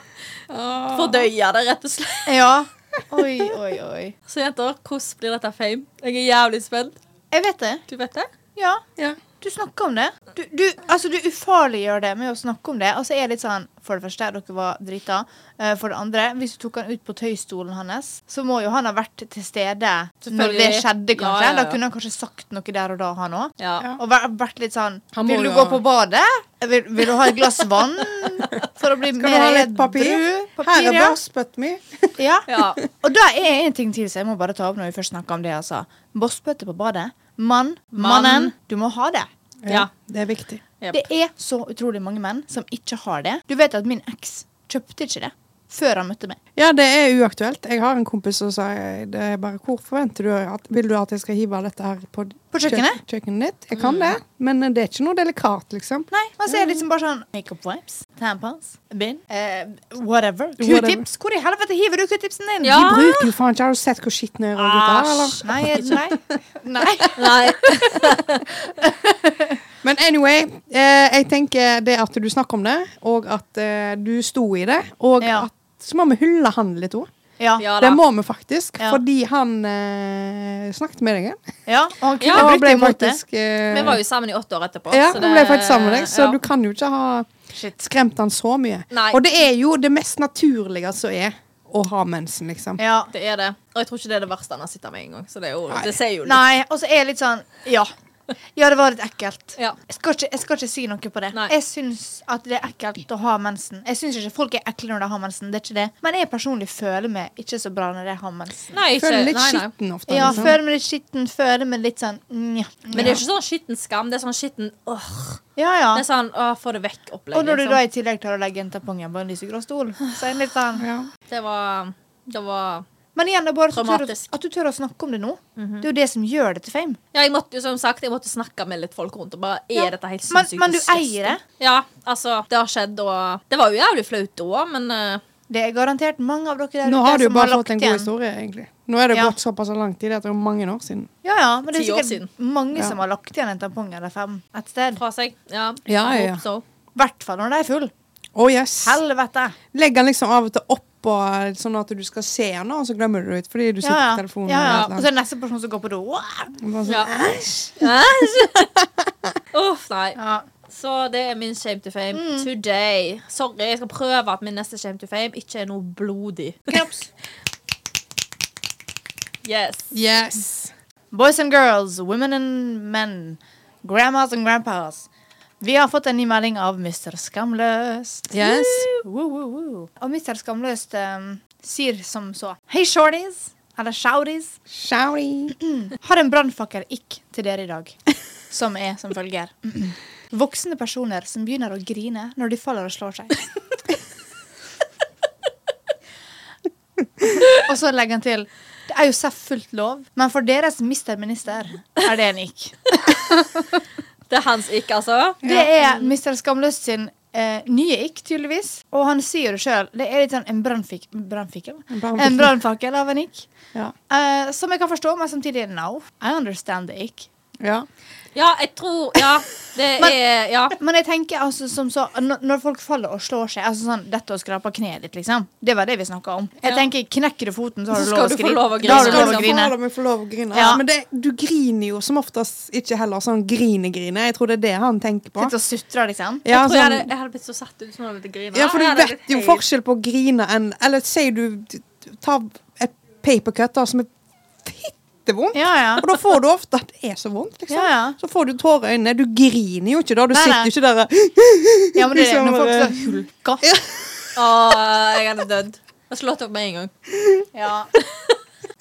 Speaker 3: Ah. fordøye det, rett og slett.
Speaker 2: ja. Oi, oi, oi.
Speaker 3: Så jenter, hvordan blir dette fame? Jeg er jævlig spent.
Speaker 2: Jeg vet det.
Speaker 3: Du vet det?
Speaker 2: Ja.
Speaker 1: Ja.
Speaker 2: Du snakker om det. Du, du, altså, du ufarliggjør det med å snakke om det. Og så er det litt sånn For det første, dere var drita. Eh, For det andre, hvis du tok han ut på tøystolen hans, så må jo han ha vært til stede når det
Speaker 3: Selvfølgelig.
Speaker 2: skjedde,
Speaker 3: Ja,
Speaker 2: kanskje.
Speaker 3: ja, ja.
Speaker 2: Da kunne han kanskje sagt noe der og da, han òg.
Speaker 3: Ja.
Speaker 1: Ja.
Speaker 2: Og væ- vært litt sånn
Speaker 1: Han må
Speaker 2: Vil du
Speaker 1: jo
Speaker 2: gå
Speaker 1: ha-
Speaker 2: på badet? Vil, vil du ha et glass vann? For å bli
Speaker 1: Skal du ha litt papir? Her er
Speaker 2: ja.
Speaker 1: borstbøtten min.
Speaker 2: ja.
Speaker 3: Ja.
Speaker 2: Og da er en ting til som jeg må bare ta opp når vi først snakker om det. altså Bossbøtte på badet. Mann, mannen. Du må ha det.
Speaker 3: Ja.
Speaker 1: Det er viktig.
Speaker 3: Jep.
Speaker 2: Det er så utrolig mange menn som ikke har det. Du vet at min eks kjøpte ikke det før han møtte meg.
Speaker 1: Ja, det er uaktuelt. Jeg har en kompis som sa det er bare Hvor forventer du at Vil du at jeg skal hive dette her på,
Speaker 2: På kjøkkenet?
Speaker 1: kjø- kjøkkenet ditt? Jeg kan
Speaker 3: Mm.
Speaker 1: det, men det er ikke noe delikat, liksom.
Speaker 2: Nei, Man ser liksom bare sånn Makeup wipes, tampons, bind, eh, whatever. Q-tips. Hvor i helvete hiver du Q-tipsen din?
Speaker 3: Ja.
Speaker 1: De bruker jo faen ikke Har du sett hvor skitten er? og gutta, eller?
Speaker 2: Asj. Nei, nei. nei.
Speaker 3: Nei.
Speaker 1: Men anyway, eh, jeg tenker det at du snakker om det, og at eh, du sto i det, og
Speaker 2: Ja.
Speaker 1: at så må vi hylle han litt òg.
Speaker 2: Ja. ja.
Speaker 3: Ja
Speaker 1: Ah, Det
Speaker 3: da.
Speaker 1: må vi faktisk,
Speaker 2: Ja.
Speaker 1: fordi han eh, snakket med deg igjen.
Speaker 2: Og han kunne
Speaker 3: Ja,
Speaker 1: Da
Speaker 2: brukt
Speaker 1: ble jeg
Speaker 2: det imot det.
Speaker 1: faktisk, eh,
Speaker 3: Vi var jo sammen i åtte år etterpå.
Speaker 1: ja,
Speaker 3: så
Speaker 1: nå ble jeg faktisk sammen med deg, så
Speaker 3: ja.
Speaker 1: du kan jo ikke ha
Speaker 2: Shit.
Speaker 1: skremt han så mye.
Speaker 3: Nei.
Speaker 1: Og det er jo det mest naturlige som er å ha mensen, liksom.
Speaker 2: Ja.
Speaker 3: Det er det. Og jeg tror ikke det er det verste han har sett av meg engang. Så det, er jo,
Speaker 1: Nei.
Speaker 3: det sier jo litt.
Speaker 2: Nei, og så er jeg litt sånn Ja. Ja, det var litt ekkelt.
Speaker 3: Ja.
Speaker 2: Jeg skal, ikke, jeg skal ikke si noe på det.
Speaker 3: Nei.
Speaker 2: Jeg syns at det er ekkelt å ha mensen. Jeg syns ikke folk er ekle når de har mensen. det er ikke det. Men jeg personlig føler meg ikke så bra når jeg har mensen.
Speaker 3: Nei, ikke,
Speaker 1: Føler litt
Speaker 3: nei, nei.
Speaker 1: skitten ofte.
Speaker 2: Ja,
Speaker 1: liksom.
Speaker 2: føler meg litt skitten, føler meg litt sånn nja.
Speaker 3: Men det er ikke sånn skitten skam. Det er sånn skitten åh.
Speaker 2: Ja, ja.
Speaker 3: Det er sånn å, få det vekk-opplegg.
Speaker 2: Og når du
Speaker 3: liksom.
Speaker 2: da i tillegg tar og legger en tampong på en lysegrå stol, så er det litt sånn
Speaker 1: Ja.
Speaker 3: Det var Det var
Speaker 2: Men igjen, det er bare at du, tør,
Speaker 3: Traumatisk. Mhm.
Speaker 2: å- at du tør å snakke om det nå. Det er jo det som gjør det til fame.
Speaker 3: Ja, jeg måtte jo som sagt Jeg måtte snakke med litt folk rundt. Og bare, er
Speaker 2: Ja.
Speaker 3: dette helt
Speaker 2: Men-
Speaker 3: sinnssykt
Speaker 2: men du
Speaker 3: disgusting?
Speaker 2: eier det?
Speaker 3: Ja, altså. Det har skjedd, og Det var jo jævlig flaut da, men eh,
Speaker 2: Det er garantert mange av dere der
Speaker 1: Nå
Speaker 2: ute
Speaker 1: har du jo
Speaker 2: som
Speaker 1: bare
Speaker 2: lagt
Speaker 1: fått en
Speaker 2: igjen.
Speaker 1: god historie, egentlig. Nå er det
Speaker 2: Ja.
Speaker 1: gått såpass lang tid at det er jo mange år siden.
Speaker 2: Ja, ja, men det er
Speaker 3: Ti år
Speaker 2: sikkert mange
Speaker 1: Ja.
Speaker 2: som har lagt igjen en tampong eller fem et sted.
Speaker 3: fra seg. Ja,
Speaker 1: Ja,
Speaker 3: I
Speaker 1: ja.
Speaker 3: hope so.
Speaker 2: I hvert fall når de er full.
Speaker 1: Å, yes.
Speaker 2: Helvete!
Speaker 1: Legger den liksom av og til oppå, sånn at du skal se den, og så glemmer du det ut fordi du sitter på telefonen.
Speaker 2: ja,
Speaker 1: eller
Speaker 2: ja. Og
Speaker 1: et
Speaker 2: så
Speaker 1: eller
Speaker 2: er det neste person som går på do. Wow!
Speaker 1: annet. Bare sånn,
Speaker 3: Ja. Æsj! Uff, nei.
Speaker 2: Ja.
Speaker 3: Så det er min shame to fame
Speaker 1: Mm.
Speaker 3: today. Sorry, jeg skal prøve at min neste shame to fame ikke er noe blodig.
Speaker 2: Knaps.
Speaker 3: Yes.
Speaker 1: Yes.
Speaker 2: Boys and girls, women and men, grandmas and grandpas. Vi har fått en ny melding av Mr. Skamløst.
Speaker 1: Yes.
Speaker 2: Woo, woo, woo. Og Mr. Skamløst eh, sier som så. Hei, shorties! Eller shouties.
Speaker 1: Shouty.
Speaker 2: Har en brannfakkel ikk til dere i dag, som er som følger. Voksne personer som begynner å grine når de faller og slår seg. og så legger han til Det er jo selvfølgelig lov, men for deres Mr. Minister er det en ikk.
Speaker 3: Det er hans ikke, altså.
Speaker 2: Det er Mr. Skamløst sin eh, nye ikk, tydeligvis. Og han sier det sjøl. Det er litt sånn en brannfik- brannfikkel.
Speaker 1: En brannfikkel.
Speaker 2: En brannfakkel av en ikk.
Speaker 1: Ja.
Speaker 2: Eh, som jeg kan forstå, men samtidig no. I understand the ikk.
Speaker 1: Ja.
Speaker 3: Ja, jeg tror Ja, det
Speaker 2: Men-
Speaker 3: er Ja.
Speaker 2: Men jeg tenker altså som så når, når folk faller og slår seg altså sånn, Dette å skrape kneet ditt, liksom. Det var det vi snakka om. Jeg
Speaker 3: Ja.
Speaker 2: tenker, Knekker du foten, så har
Speaker 3: Så
Speaker 2: du
Speaker 3: skal
Speaker 2: lov å
Speaker 3: du
Speaker 2: skrike. Da
Speaker 3: få lov å
Speaker 2: har du lov å
Speaker 3: grine, liksom.
Speaker 2: grine.
Speaker 1: Fader, vi får lov å grine.
Speaker 2: Ja.
Speaker 1: Men det, du griner jo som oftest ikke heller sånn grine-grine. Jeg tror det er det han tenker på.
Speaker 2: Sitte og sutre, liksom.
Speaker 1: Ja,
Speaker 3: jeg, tror
Speaker 1: sånn-
Speaker 3: jeg, hadde, jeg hadde blitt så satt ut som jeg hadde grina.
Speaker 1: Ja, for
Speaker 3: Jeg
Speaker 1: du
Speaker 3: hadde
Speaker 1: vet
Speaker 3: blitt
Speaker 1: jo
Speaker 3: helt-
Speaker 1: forskjell på å grine enn Eller sier du du- du- Ta et papercut da, som er fittevondt,
Speaker 2: Ja, ja.
Speaker 1: og da får du ofte at det er så vondt, liksom.
Speaker 2: Ja, ja.
Speaker 1: Så får du tårer i øynene. Du griner jo ikke da. Du
Speaker 2: Nei,
Speaker 1: sitter
Speaker 2: nei.
Speaker 1: jo ikke der og
Speaker 2: ja men det er det.
Speaker 1: Liksom,
Speaker 2: Når folk
Speaker 1: eh,
Speaker 2: så hulker.
Speaker 3: Å, jeg hadde dødd. Jeg hadde slått opp med en gang.
Speaker 2: Ja.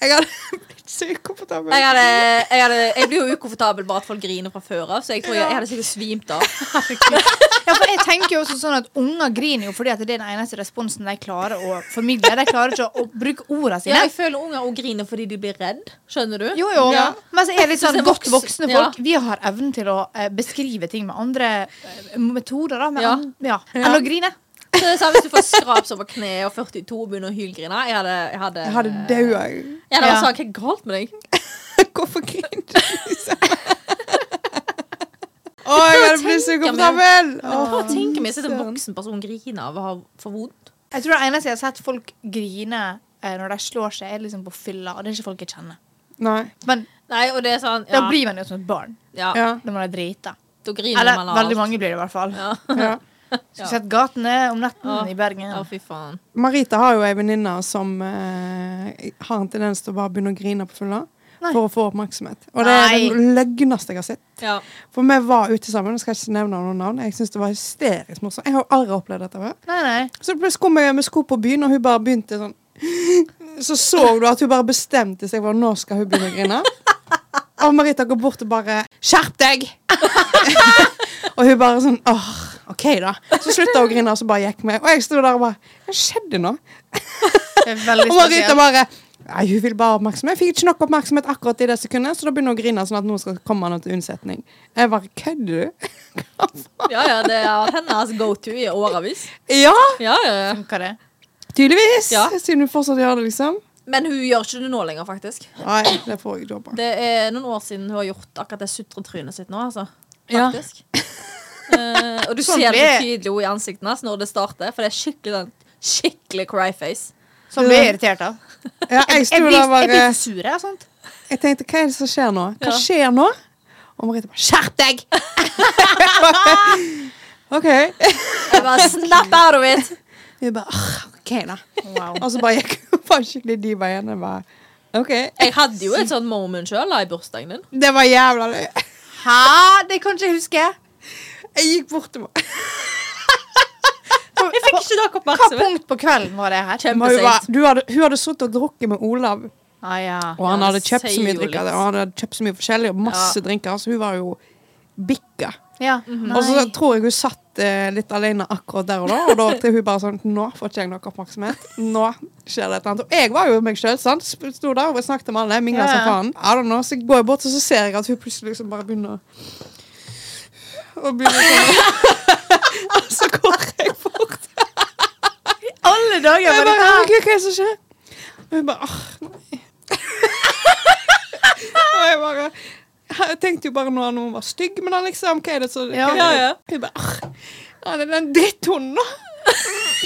Speaker 1: Jeg hadde blitt så ukomfortabel.
Speaker 3: Jeg, hadde, jeg, hadde, jeg blir jo ukomfortabel bare at folk griner fra før av, så jeg tror jeg, jeg hadde sikkert svimt av.
Speaker 2: ja, for jeg tenker jo også sånn at Unger griner jo fordi at det er den eneste responsen de klarer å formidle. De klarer ikke å, å bruke ordene
Speaker 3: Ja,
Speaker 2: sine.
Speaker 3: jeg føler unger også griner fordi de blir redd. Skjønner du?
Speaker 2: Jo, jo.
Speaker 1: Ja.
Speaker 2: Men så er det litt sånn
Speaker 3: Så det er
Speaker 2: godt
Speaker 3: voks-
Speaker 2: voksne
Speaker 3: ja.
Speaker 2: folk. Vi har evnen til å eh, beskrive ting med andre eh, metoder, da. Med
Speaker 3: Ja.
Speaker 2: an- ja. Enn å grine.
Speaker 3: Så det er sånn, Hvis du får skraps over kneet og 42 og begynner å hylgrine Jeg hadde Jeg hadde,
Speaker 1: Jeg hadde daua.
Speaker 3: Jeg hadde bare
Speaker 2: Ja.
Speaker 3: sagt hva er galt med deg?
Speaker 1: Hvorfor griner du? liksom? Å, jeg hadde blitt så
Speaker 3: tenker jeg
Speaker 1: ukomfortabel!
Speaker 3: Jeg
Speaker 1: Å,
Speaker 3: prøver å tenke meg å se en
Speaker 1: søren.
Speaker 3: voksen person grine av å ha for vondt.
Speaker 2: Jeg tror det eneste jeg har sett folk grine eh, når de slår seg, er liksom på fylla. Og det er ikke folk jeg kjenner.
Speaker 1: Nei.
Speaker 2: Men
Speaker 3: Nei, og det er sånn
Speaker 2: da
Speaker 3: Ja.
Speaker 2: blir man jo som et barn.
Speaker 3: ja,
Speaker 1: Ja.
Speaker 2: Da må de drite.
Speaker 3: Da griner
Speaker 2: Eller
Speaker 3: man av
Speaker 2: veldig
Speaker 3: alt.
Speaker 2: mange blir det, i hvert fall.
Speaker 3: Ja.
Speaker 1: ja.
Speaker 2: Skulle sett gatene om netten
Speaker 3: Ja.
Speaker 2: i Bergen.
Speaker 3: ja, fy faen.
Speaker 1: Marita har jo ei venninne som eh, har en tendens til å bare begynne å grine på fylla.
Speaker 2: Nei.
Speaker 1: For å få oppmerksomhet. Og det er den løgneste jeg har sett.
Speaker 3: Ja.
Speaker 1: For vi var ute sammen. Jeg skal ikke nevne noen navn. Jeg synes det var hysterisk morsomt. Jeg har jo aldri opplevd dette før.
Speaker 2: Nei, nei.
Speaker 1: Så plutselig kom jeg med sko på byen, og hun bare begynte sånn Så så du at hun bare bestemte seg for at nå skal hun begynne å grine. Og Marita går bort og bare 'Skjerp deg!' og hun bare sånn åh, OK, da. Så slutta hun å grine, og så bare gikk vi. Og jeg sto der og bare Hva skjedde nå?
Speaker 2: Det er veldig
Speaker 1: Og Marita
Speaker 2: spesielt.
Speaker 1: bare Nei, hun vil bare ha oppmerksomhet. Jeg fikk ikke nok oppmerksomhet akkurat i det sekundet, så da begynner hun å grine sånn at noen skal komme henne til unnsetning. Jeg bare Kødder du?
Speaker 3: ja, ja, det har vært hennes go to i årevis.
Speaker 1: Ja!
Speaker 3: Ja, ja, ja.
Speaker 2: Funker det?
Speaker 1: Tydeligvis!
Speaker 3: Ja.
Speaker 1: Siden hun fortsatt gjør det, liksom.
Speaker 3: Men hun gjør ikke det nå lenger, faktisk.
Speaker 1: Nei, det får jeg ikke jobbe.
Speaker 3: Det er noen år siden hun har gjort akkurat det sutretrynet sitt nå, altså.
Speaker 1: Ja.
Speaker 3: Faktisk. Eh, og du
Speaker 2: Sånn
Speaker 3: ser det
Speaker 2: blir-
Speaker 3: tydelig i ansiktet hennes når det starter, for det er skikkelig den Skikkelig cryface.
Speaker 2: Som blir jeg irritert av.
Speaker 1: Ja, jeg sto
Speaker 2: Jeg blir,
Speaker 1: der
Speaker 2: jeg
Speaker 1: bare
Speaker 2: blir så sur jeg, av sånt.
Speaker 1: Jeg tenkte, hva er det som skjer nå? Hva
Speaker 3: Ja.
Speaker 1: skjer nå? Og Merete bare Skjerp deg! OK.
Speaker 3: Jeg bare snap out of it!
Speaker 1: Vi bare «Åh, OK, da. Og så bare gikk hun bare skikkelig diva igjen. Jeg bare OK.
Speaker 3: Jeg hadde jo et sånt moment sjøl i bursdagen din.
Speaker 1: Det var jævla løy.
Speaker 2: Hæ? Det kan ikke jeg huske.
Speaker 1: Jeg gikk bort til henne.
Speaker 3: Jeg fikk ikke nok
Speaker 2: Hva
Speaker 3: oppmerksomhet.
Speaker 2: punkt på kvelden var det her?
Speaker 1: Hun var-
Speaker 3: Kjempeseint.
Speaker 1: du hadde, hun hadde sittet og drukket med Olav,
Speaker 2: Ah, ja.
Speaker 1: og han
Speaker 3: Ja,
Speaker 1: hadde
Speaker 3: det
Speaker 1: kjøpt så
Speaker 3: sier
Speaker 1: mye
Speaker 3: jo
Speaker 1: drikker.
Speaker 3: litt.
Speaker 1: Og han hadde kjøpt så mye forskjellig, og masse drinker, så hun var jo bikka.
Speaker 2: ja.
Speaker 1: Og så
Speaker 2: Mhm. Nei.
Speaker 1: tror jeg hun satt eh, litt alene akkurat der og da, og da tenkte hun bare sånn Nå får ikke jeg noe oppmerksomhet. Nå skjer det et eller annet. Og jeg var jo meg sjøl, sant. Sp- Sto der og snakket med alle, mingla
Speaker 2: Ja,
Speaker 1: som
Speaker 2: ja.
Speaker 1: faen. I don't know. Så går jeg bort, og så ser jeg at hun plutselig liksom bare begynner å Og begynner sånn Og så går jeg bort.
Speaker 2: Alle dager
Speaker 1: Jeg
Speaker 2: var det
Speaker 1: bare,
Speaker 3: "Ah."
Speaker 2: her.
Speaker 1: «Herregud, hva er det som skjer? Og hun bare, "Ah, åh, nei. og jeg bare, jeg tenkte jo bare når noen var stygg med den, liksom. Hva er det så? hva er det?»
Speaker 3: Ja, ja.
Speaker 1: Hun bare, åh, ja, det er den dritthunden da.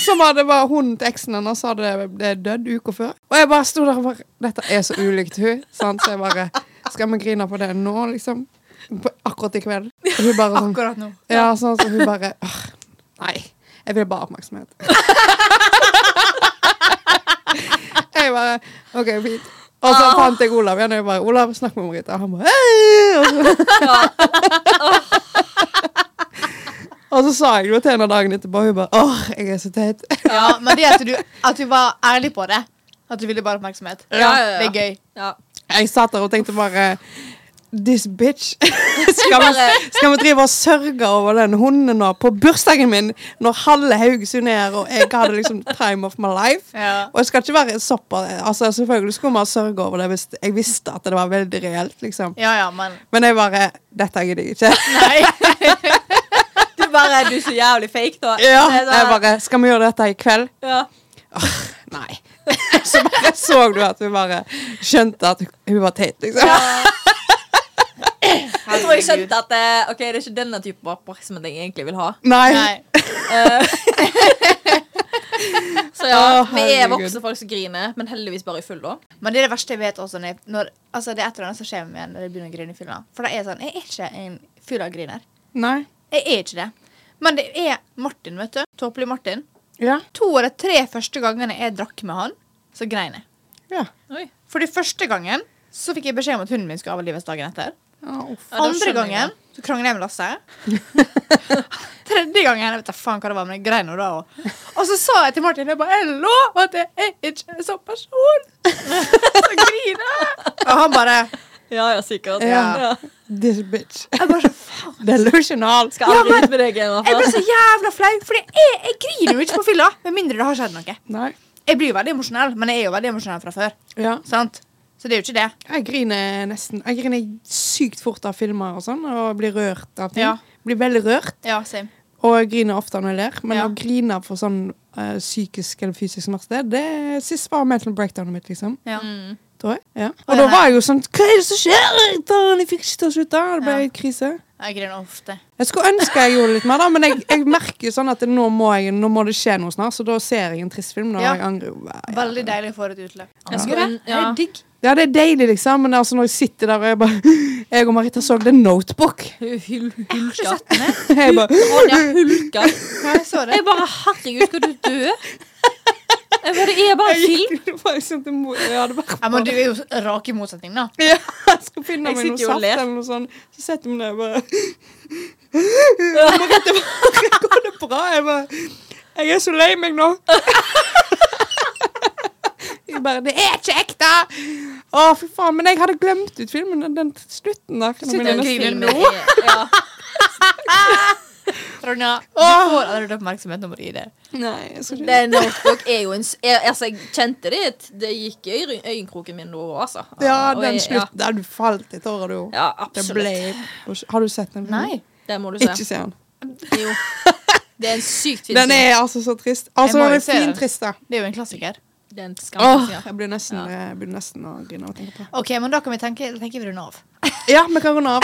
Speaker 1: Som hadde bare hunden til eksen hennes, hadde det dødd uka før. Og jeg bare sto der og bare, dette er så ulikt hun, sant? Så jeg bare, skal vi grine på det nå, liksom? På, akkurat i kveld. Og hun bare sånn,
Speaker 2: Akkurat nå.
Speaker 1: ja, sånn som hun bare «Åh, Nei. Jeg vil bare ha oppmerksomhet. jeg bare OK, fint. Og så fant jeg Olav igjen. og Jeg bare, Olav, snakk med Marita. Og han bare «Hei!» og så, og så sa jeg det jo til henne dagen etterpå, og hun bare åh, jeg er så teit.
Speaker 2: Ja, men det at du, at du var ærlig på det. At du ville bare oppmerksomhet.
Speaker 3: Ja, ja, ja.
Speaker 2: Det er gøy.
Speaker 3: Ja.
Speaker 1: Jeg satt der og tenkte bare This bitch. skal, vi, skal vi drive og sørge over den hunden nå på bursdagen min, når halve Haugesund er her, og jeg hadde liksom time of my life?
Speaker 2: Ja.
Speaker 1: Og jeg skal ikke være såpass altså, Selvfølgelig skulle man sørge over det hvis jeg visste at det var veldig reelt, liksom.
Speaker 2: Ja, ja, men
Speaker 1: Men jeg bare Dette gidder jeg ikke.
Speaker 2: Nei.
Speaker 3: Du bare Du er så jævlig fake, da.
Speaker 1: Ja,
Speaker 3: Det er
Speaker 1: jeg
Speaker 3: sånn-
Speaker 1: bare Skal vi gjøre dette i kveld?
Speaker 3: ja.
Speaker 1: Nei. Så bare så du at hun bare skjønte at hun var teit, liksom.
Speaker 3: Jeg tror jeg skjønte at eh, Ok, det er ikke denne typen oppmerksomhet jeg egentlig vil ha.
Speaker 1: Nei.
Speaker 2: Nei.
Speaker 3: Så ja,
Speaker 1: Å,
Speaker 3: Vi er
Speaker 1: herregud.
Speaker 3: voksne folk som griner, men heldigvis bare i full, da.
Speaker 2: Men det er det verste jeg vet også. Når, jeg- når, altså, det er et eller annet som skjer med meg når jeg begynner å grine i fylla. For da er jeg sånn Jeg er ikke en fylla-griner.
Speaker 1: Nei.
Speaker 2: Jeg er ikke det. Men det er Martin, vet du. Tåpelig Martin.
Speaker 1: Ja.
Speaker 2: To eller tre første gangene jeg drakk med han, så grein jeg.
Speaker 1: Ja.
Speaker 3: Oi.
Speaker 2: For de første gangen så fikk jeg beskjed om at hunden min skulle avlives dagen etter.
Speaker 1: Ja, uff.
Speaker 3: Ja, da
Speaker 2: Andre
Speaker 3: skjønner jeg
Speaker 2: gangen så krangla jeg med Lasse. Tredje gangen jeg vet da faen hva det var, men jeg grein nå da òg. Og så sa jeg til Martin jeg bare, jeg lover at jeg er ikke en sånn person. Så griner jeg. Og han bare
Speaker 3: Ja, ja, sikkert.
Speaker 1: Ja.
Speaker 3: Ja.
Speaker 1: This bitch.
Speaker 2: Jeg bare så faen.
Speaker 1: Delusional.
Speaker 3: Skal aldri ut med deg igjen, i hvert
Speaker 2: Jeg ble
Speaker 3: fall.
Speaker 2: så jævla flau, for jeg, jeg griner jo ikke på fylla. Med mindre det har skjedd noe.
Speaker 1: Nei.
Speaker 2: Jeg blir jo veldig emosjonell, men jeg er jo veldig emosjonell fra før.
Speaker 1: Ja.
Speaker 2: Sant? Så det er jo ikke det.
Speaker 1: Jeg griner nesten Jeg griner sykt fort av filmer og sånn, og blir rørt av ting.
Speaker 2: Ja.
Speaker 1: Blir veldig rørt.
Speaker 2: Ja, same.
Speaker 1: Og jeg griner ofte når jeg ler, men
Speaker 2: Ja.
Speaker 1: å grine for sånn eh, psykisk eller fysisk smerte, det sist var mental breakdownet mitt, liksom.
Speaker 2: Ja.
Speaker 3: Mm.
Speaker 1: Tror jeg. Ja. Og
Speaker 2: Å, ja,
Speaker 1: da
Speaker 2: nei.
Speaker 1: var jeg jo sånn Hva er det som skjer? Jeg tar- Jeg fikk ikke til å slutte. Det ble
Speaker 2: Ja.
Speaker 1: krise.
Speaker 2: Jeg griner ofte.
Speaker 1: Jeg skulle ønske jeg gjorde litt mer, da, men jeg, jeg merker jo sånn at nå må, jeg, nå må det skje noe snart, så da ser jeg en trist film. Da
Speaker 2: Ja.
Speaker 1: jeg angrer jo hver-
Speaker 2: Veldig deilig å få et utløp.
Speaker 3: Jeg skulle, ja.
Speaker 2: Det er digg.
Speaker 1: Ja, det er deilig, liksom, men altså når jeg sitter der og jeg bare Jeg og Marita så The Notebook.
Speaker 3: Hulka.
Speaker 1: Jeg bare
Speaker 3: Ronja hulka.
Speaker 2: Ja, jeg så det.
Speaker 3: Jeg bare Herregud, skal du dø? Jeg bare, Det er bare en film.
Speaker 1: Jeg gikk faktisk til mor- Jeg hadde vært
Speaker 2: Ja, men du er jo rak i motsetning, da.
Speaker 1: Ja, jeg skal finne
Speaker 3: Jeg
Speaker 1: meg noe
Speaker 3: sitter jo og
Speaker 1: saft
Speaker 3: ler.
Speaker 1: eller noe sånt. Så setter vi meg ned og bare Marita bare Går det bra? Jeg bare Jeg er så lei meg nå. Jeg bare Det er ikke ekte! Å, fy faen. Men jeg hadde glemt ut filmen. Den, den slutten der. Kan jeg
Speaker 2: Slutten.
Speaker 1: begynne?
Speaker 2: griner
Speaker 3: Filmen er- Ja.
Speaker 2: Ronja, du får allerede oppmerksomhet når du gir det.
Speaker 1: Nei, jeg skal ikke
Speaker 3: Det notebook er jo en s- jeg, Altså, jeg kjente det. Det gikk i øy- øyenkroken min nå òg, altså.
Speaker 1: Ja,
Speaker 3: Og
Speaker 1: den
Speaker 3: jeg- ja.
Speaker 1: slutten der du falt i tårer, du.
Speaker 3: Ja,
Speaker 1: det
Speaker 3: absolutt.
Speaker 1: ble Har du sett den? filmen?
Speaker 2: Nei.
Speaker 3: Det må du se.
Speaker 1: Ikke se den.
Speaker 3: Jo. Det er en sykt fin
Speaker 1: Den
Speaker 3: film.
Speaker 1: er altså så trist. Altså,
Speaker 2: må
Speaker 1: den
Speaker 2: jo
Speaker 1: er
Speaker 2: se
Speaker 1: fin
Speaker 2: den.
Speaker 1: trist, da.
Speaker 2: Det er jo en klassiker.
Speaker 3: Det er en skam.
Speaker 1: Åh,
Speaker 3: ja.
Speaker 1: jeg blir nesten,
Speaker 3: Ja.
Speaker 1: jeg blir nesten å grine av å tenke på.
Speaker 2: Ok, men Da kan vi tenke, tenke vi runde av.
Speaker 1: Ja, vi kan runde av.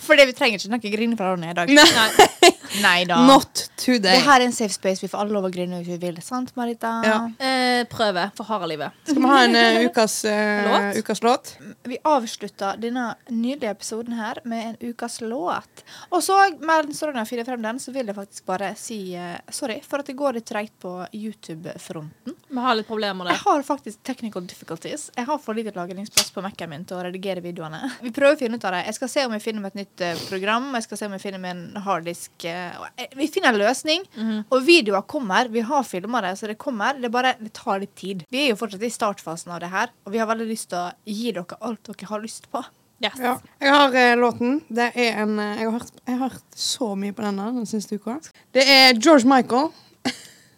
Speaker 2: Fordi vi trenger ikke noe grine fra Ronja i dag.
Speaker 1: Nei.
Speaker 3: Nei.
Speaker 2: Nei da.
Speaker 1: Not today.
Speaker 2: Det her er en safe space. Vi får alle lov å grine hvis vi vil. Sant, Marita?
Speaker 1: Ja.
Speaker 3: Eh, prøve for harde livet.
Speaker 1: Skal vi ha en eh, ukas, eh,
Speaker 3: Låt?
Speaker 1: ukas låt?
Speaker 2: Vi avslutter denne nydelige episoden her med en ukas låt. Og så, mens Ronja finner frem den, så vil jeg faktisk bare si eh, sorry for at det går litt treigt på YouTube-fronten.
Speaker 3: Vi har litt problemer
Speaker 2: Jeg
Speaker 3: der.
Speaker 2: har faktisk technical difficulties. Jeg har for lite lagringsplass på Mac-en min til å redigere videoene. Vi prøver å finne ut av det. Jeg skal se om jeg finner med et nytt eh, program. Jeg skal se om jeg finner med en harddisk eh, og jeg- Vi finner en løsning.
Speaker 3: Mhm.
Speaker 2: Og videoer kommer. Vi har filma det, så det kommer. Det bare det tar litt tid. Vi er jo fortsatt i startfasen av det her, og vi har veldig lyst til å gi dere alt dere har lyst på.
Speaker 3: Yes.
Speaker 1: Ja. Jeg har eh, låten. Det er en eh, jeg, har hørt, jeg har hørt så mye på denne den siste uka. Det er George Michael.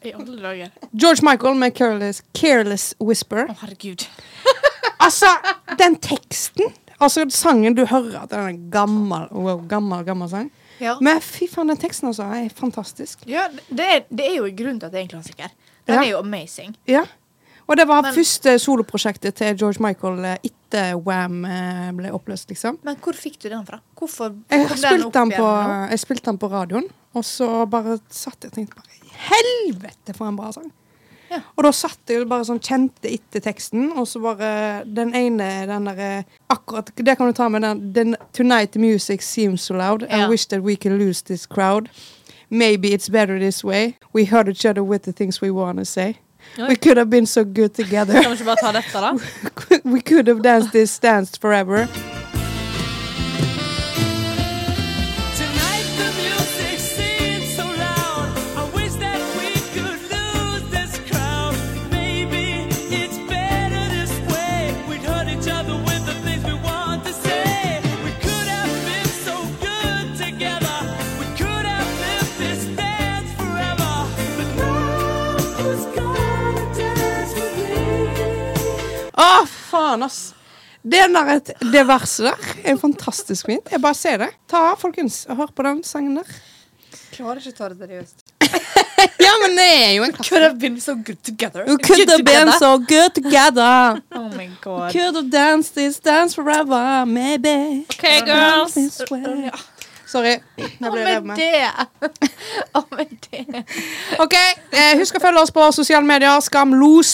Speaker 2: I alle dager.
Speaker 1: George Michael med 'Careless, Careless Whisper'.
Speaker 2: Å, herregud.
Speaker 1: Altså, den teksten! Altså sangen du hører at den er en gammel, wow, gammel, gammel sang.
Speaker 2: Ja.
Speaker 1: Men fy faen, den teksten altså er fantastisk.
Speaker 2: ja det, er, det er jo i grunnen til at det er en klassiker. Den
Speaker 1: Ja.
Speaker 2: er jo amazing.
Speaker 1: Ja. Og det var
Speaker 2: Men-
Speaker 1: første soloprosjektet til George Michael eh, etter Wam eh, ble oppløst, liksom.
Speaker 2: Men hvor fikk du den fra? Hvorfor
Speaker 1: Jeg
Speaker 2: kom den
Speaker 1: spilte
Speaker 2: opp
Speaker 1: den,
Speaker 2: igjen
Speaker 1: på,
Speaker 2: nå?
Speaker 1: jeg spilte den på radioen, og så bare satt jeg og tenkte bare Helvete, for en bra sang!
Speaker 2: Ja.
Speaker 1: Og da satt jeg bare sånn, kjente etter teksten, og så bare den ene den derre Akkurat Det kan du ta med den. den Tonight the music seems so loud. I
Speaker 2: Ja.
Speaker 1: wish that we could lose this crowd. Maybe it's better this way. We heard each other with the things we wanna say.
Speaker 3: Oi.
Speaker 1: We could have been so good together.
Speaker 3: Kan vi ikke bare ta dette, da?
Speaker 1: we could have danced this dance forever.
Speaker 5: Tonight the music seems so loud. I wish that we could lose this crowd. Maybe it's better this way. We'd hurt each other with the things we want to say. We could have been so good together. We could have lived this dance forever. But now who's gonna dance with me?
Speaker 1: Å, faen, ass! Den der, et- det verset der er fantastisk fint. Jeg bare ser det. Ta, folkens, og hør på den sangen der.
Speaker 2: Klarer ikke å ta det seriøst.
Speaker 1: Ja, men det er jo en
Speaker 2: Could have been so good together.
Speaker 1: We could have been so good together.
Speaker 2: Oh my god.
Speaker 1: Could have danced this dance forever, maybe.
Speaker 3: OK, girls.
Speaker 1: This way. Sorry. Jeg
Speaker 2: Og
Speaker 1: ble revet
Speaker 2: med
Speaker 1: med.
Speaker 2: det.
Speaker 1: Oh
Speaker 2: Og med det.
Speaker 1: Ok, eh, Husk å følge oss på sosiale medier.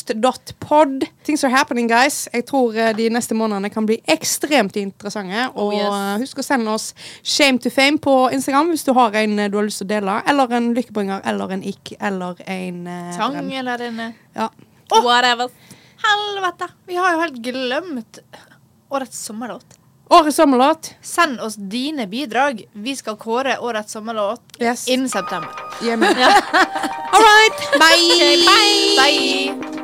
Speaker 1: Skamlost.pod. Things are happening, guys. Jeg tror eh, de neste månedene kan bli ekstremt interessante. Og
Speaker 3: Oh, yes.
Speaker 1: eh, husk å sende oss shame to fame på Instagram hvis du har en eh, du har lyst til å dele. Eller en lykkebringer, eller en ikk, eller en eh,
Speaker 2: Tang
Speaker 1: drøm.
Speaker 2: eller en
Speaker 1: Ja.
Speaker 3: Whatever.
Speaker 2: Helvete! Vi har jo helt glemt årets sommerlåt.
Speaker 1: Årets sommerlåt.
Speaker 2: Send oss dine bidrag. Vi skal kåre årets sommerlåt
Speaker 1: Yes.
Speaker 2: innen september.
Speaker 1: Gi meg. All right. Bye.
Speaker 2: Bye!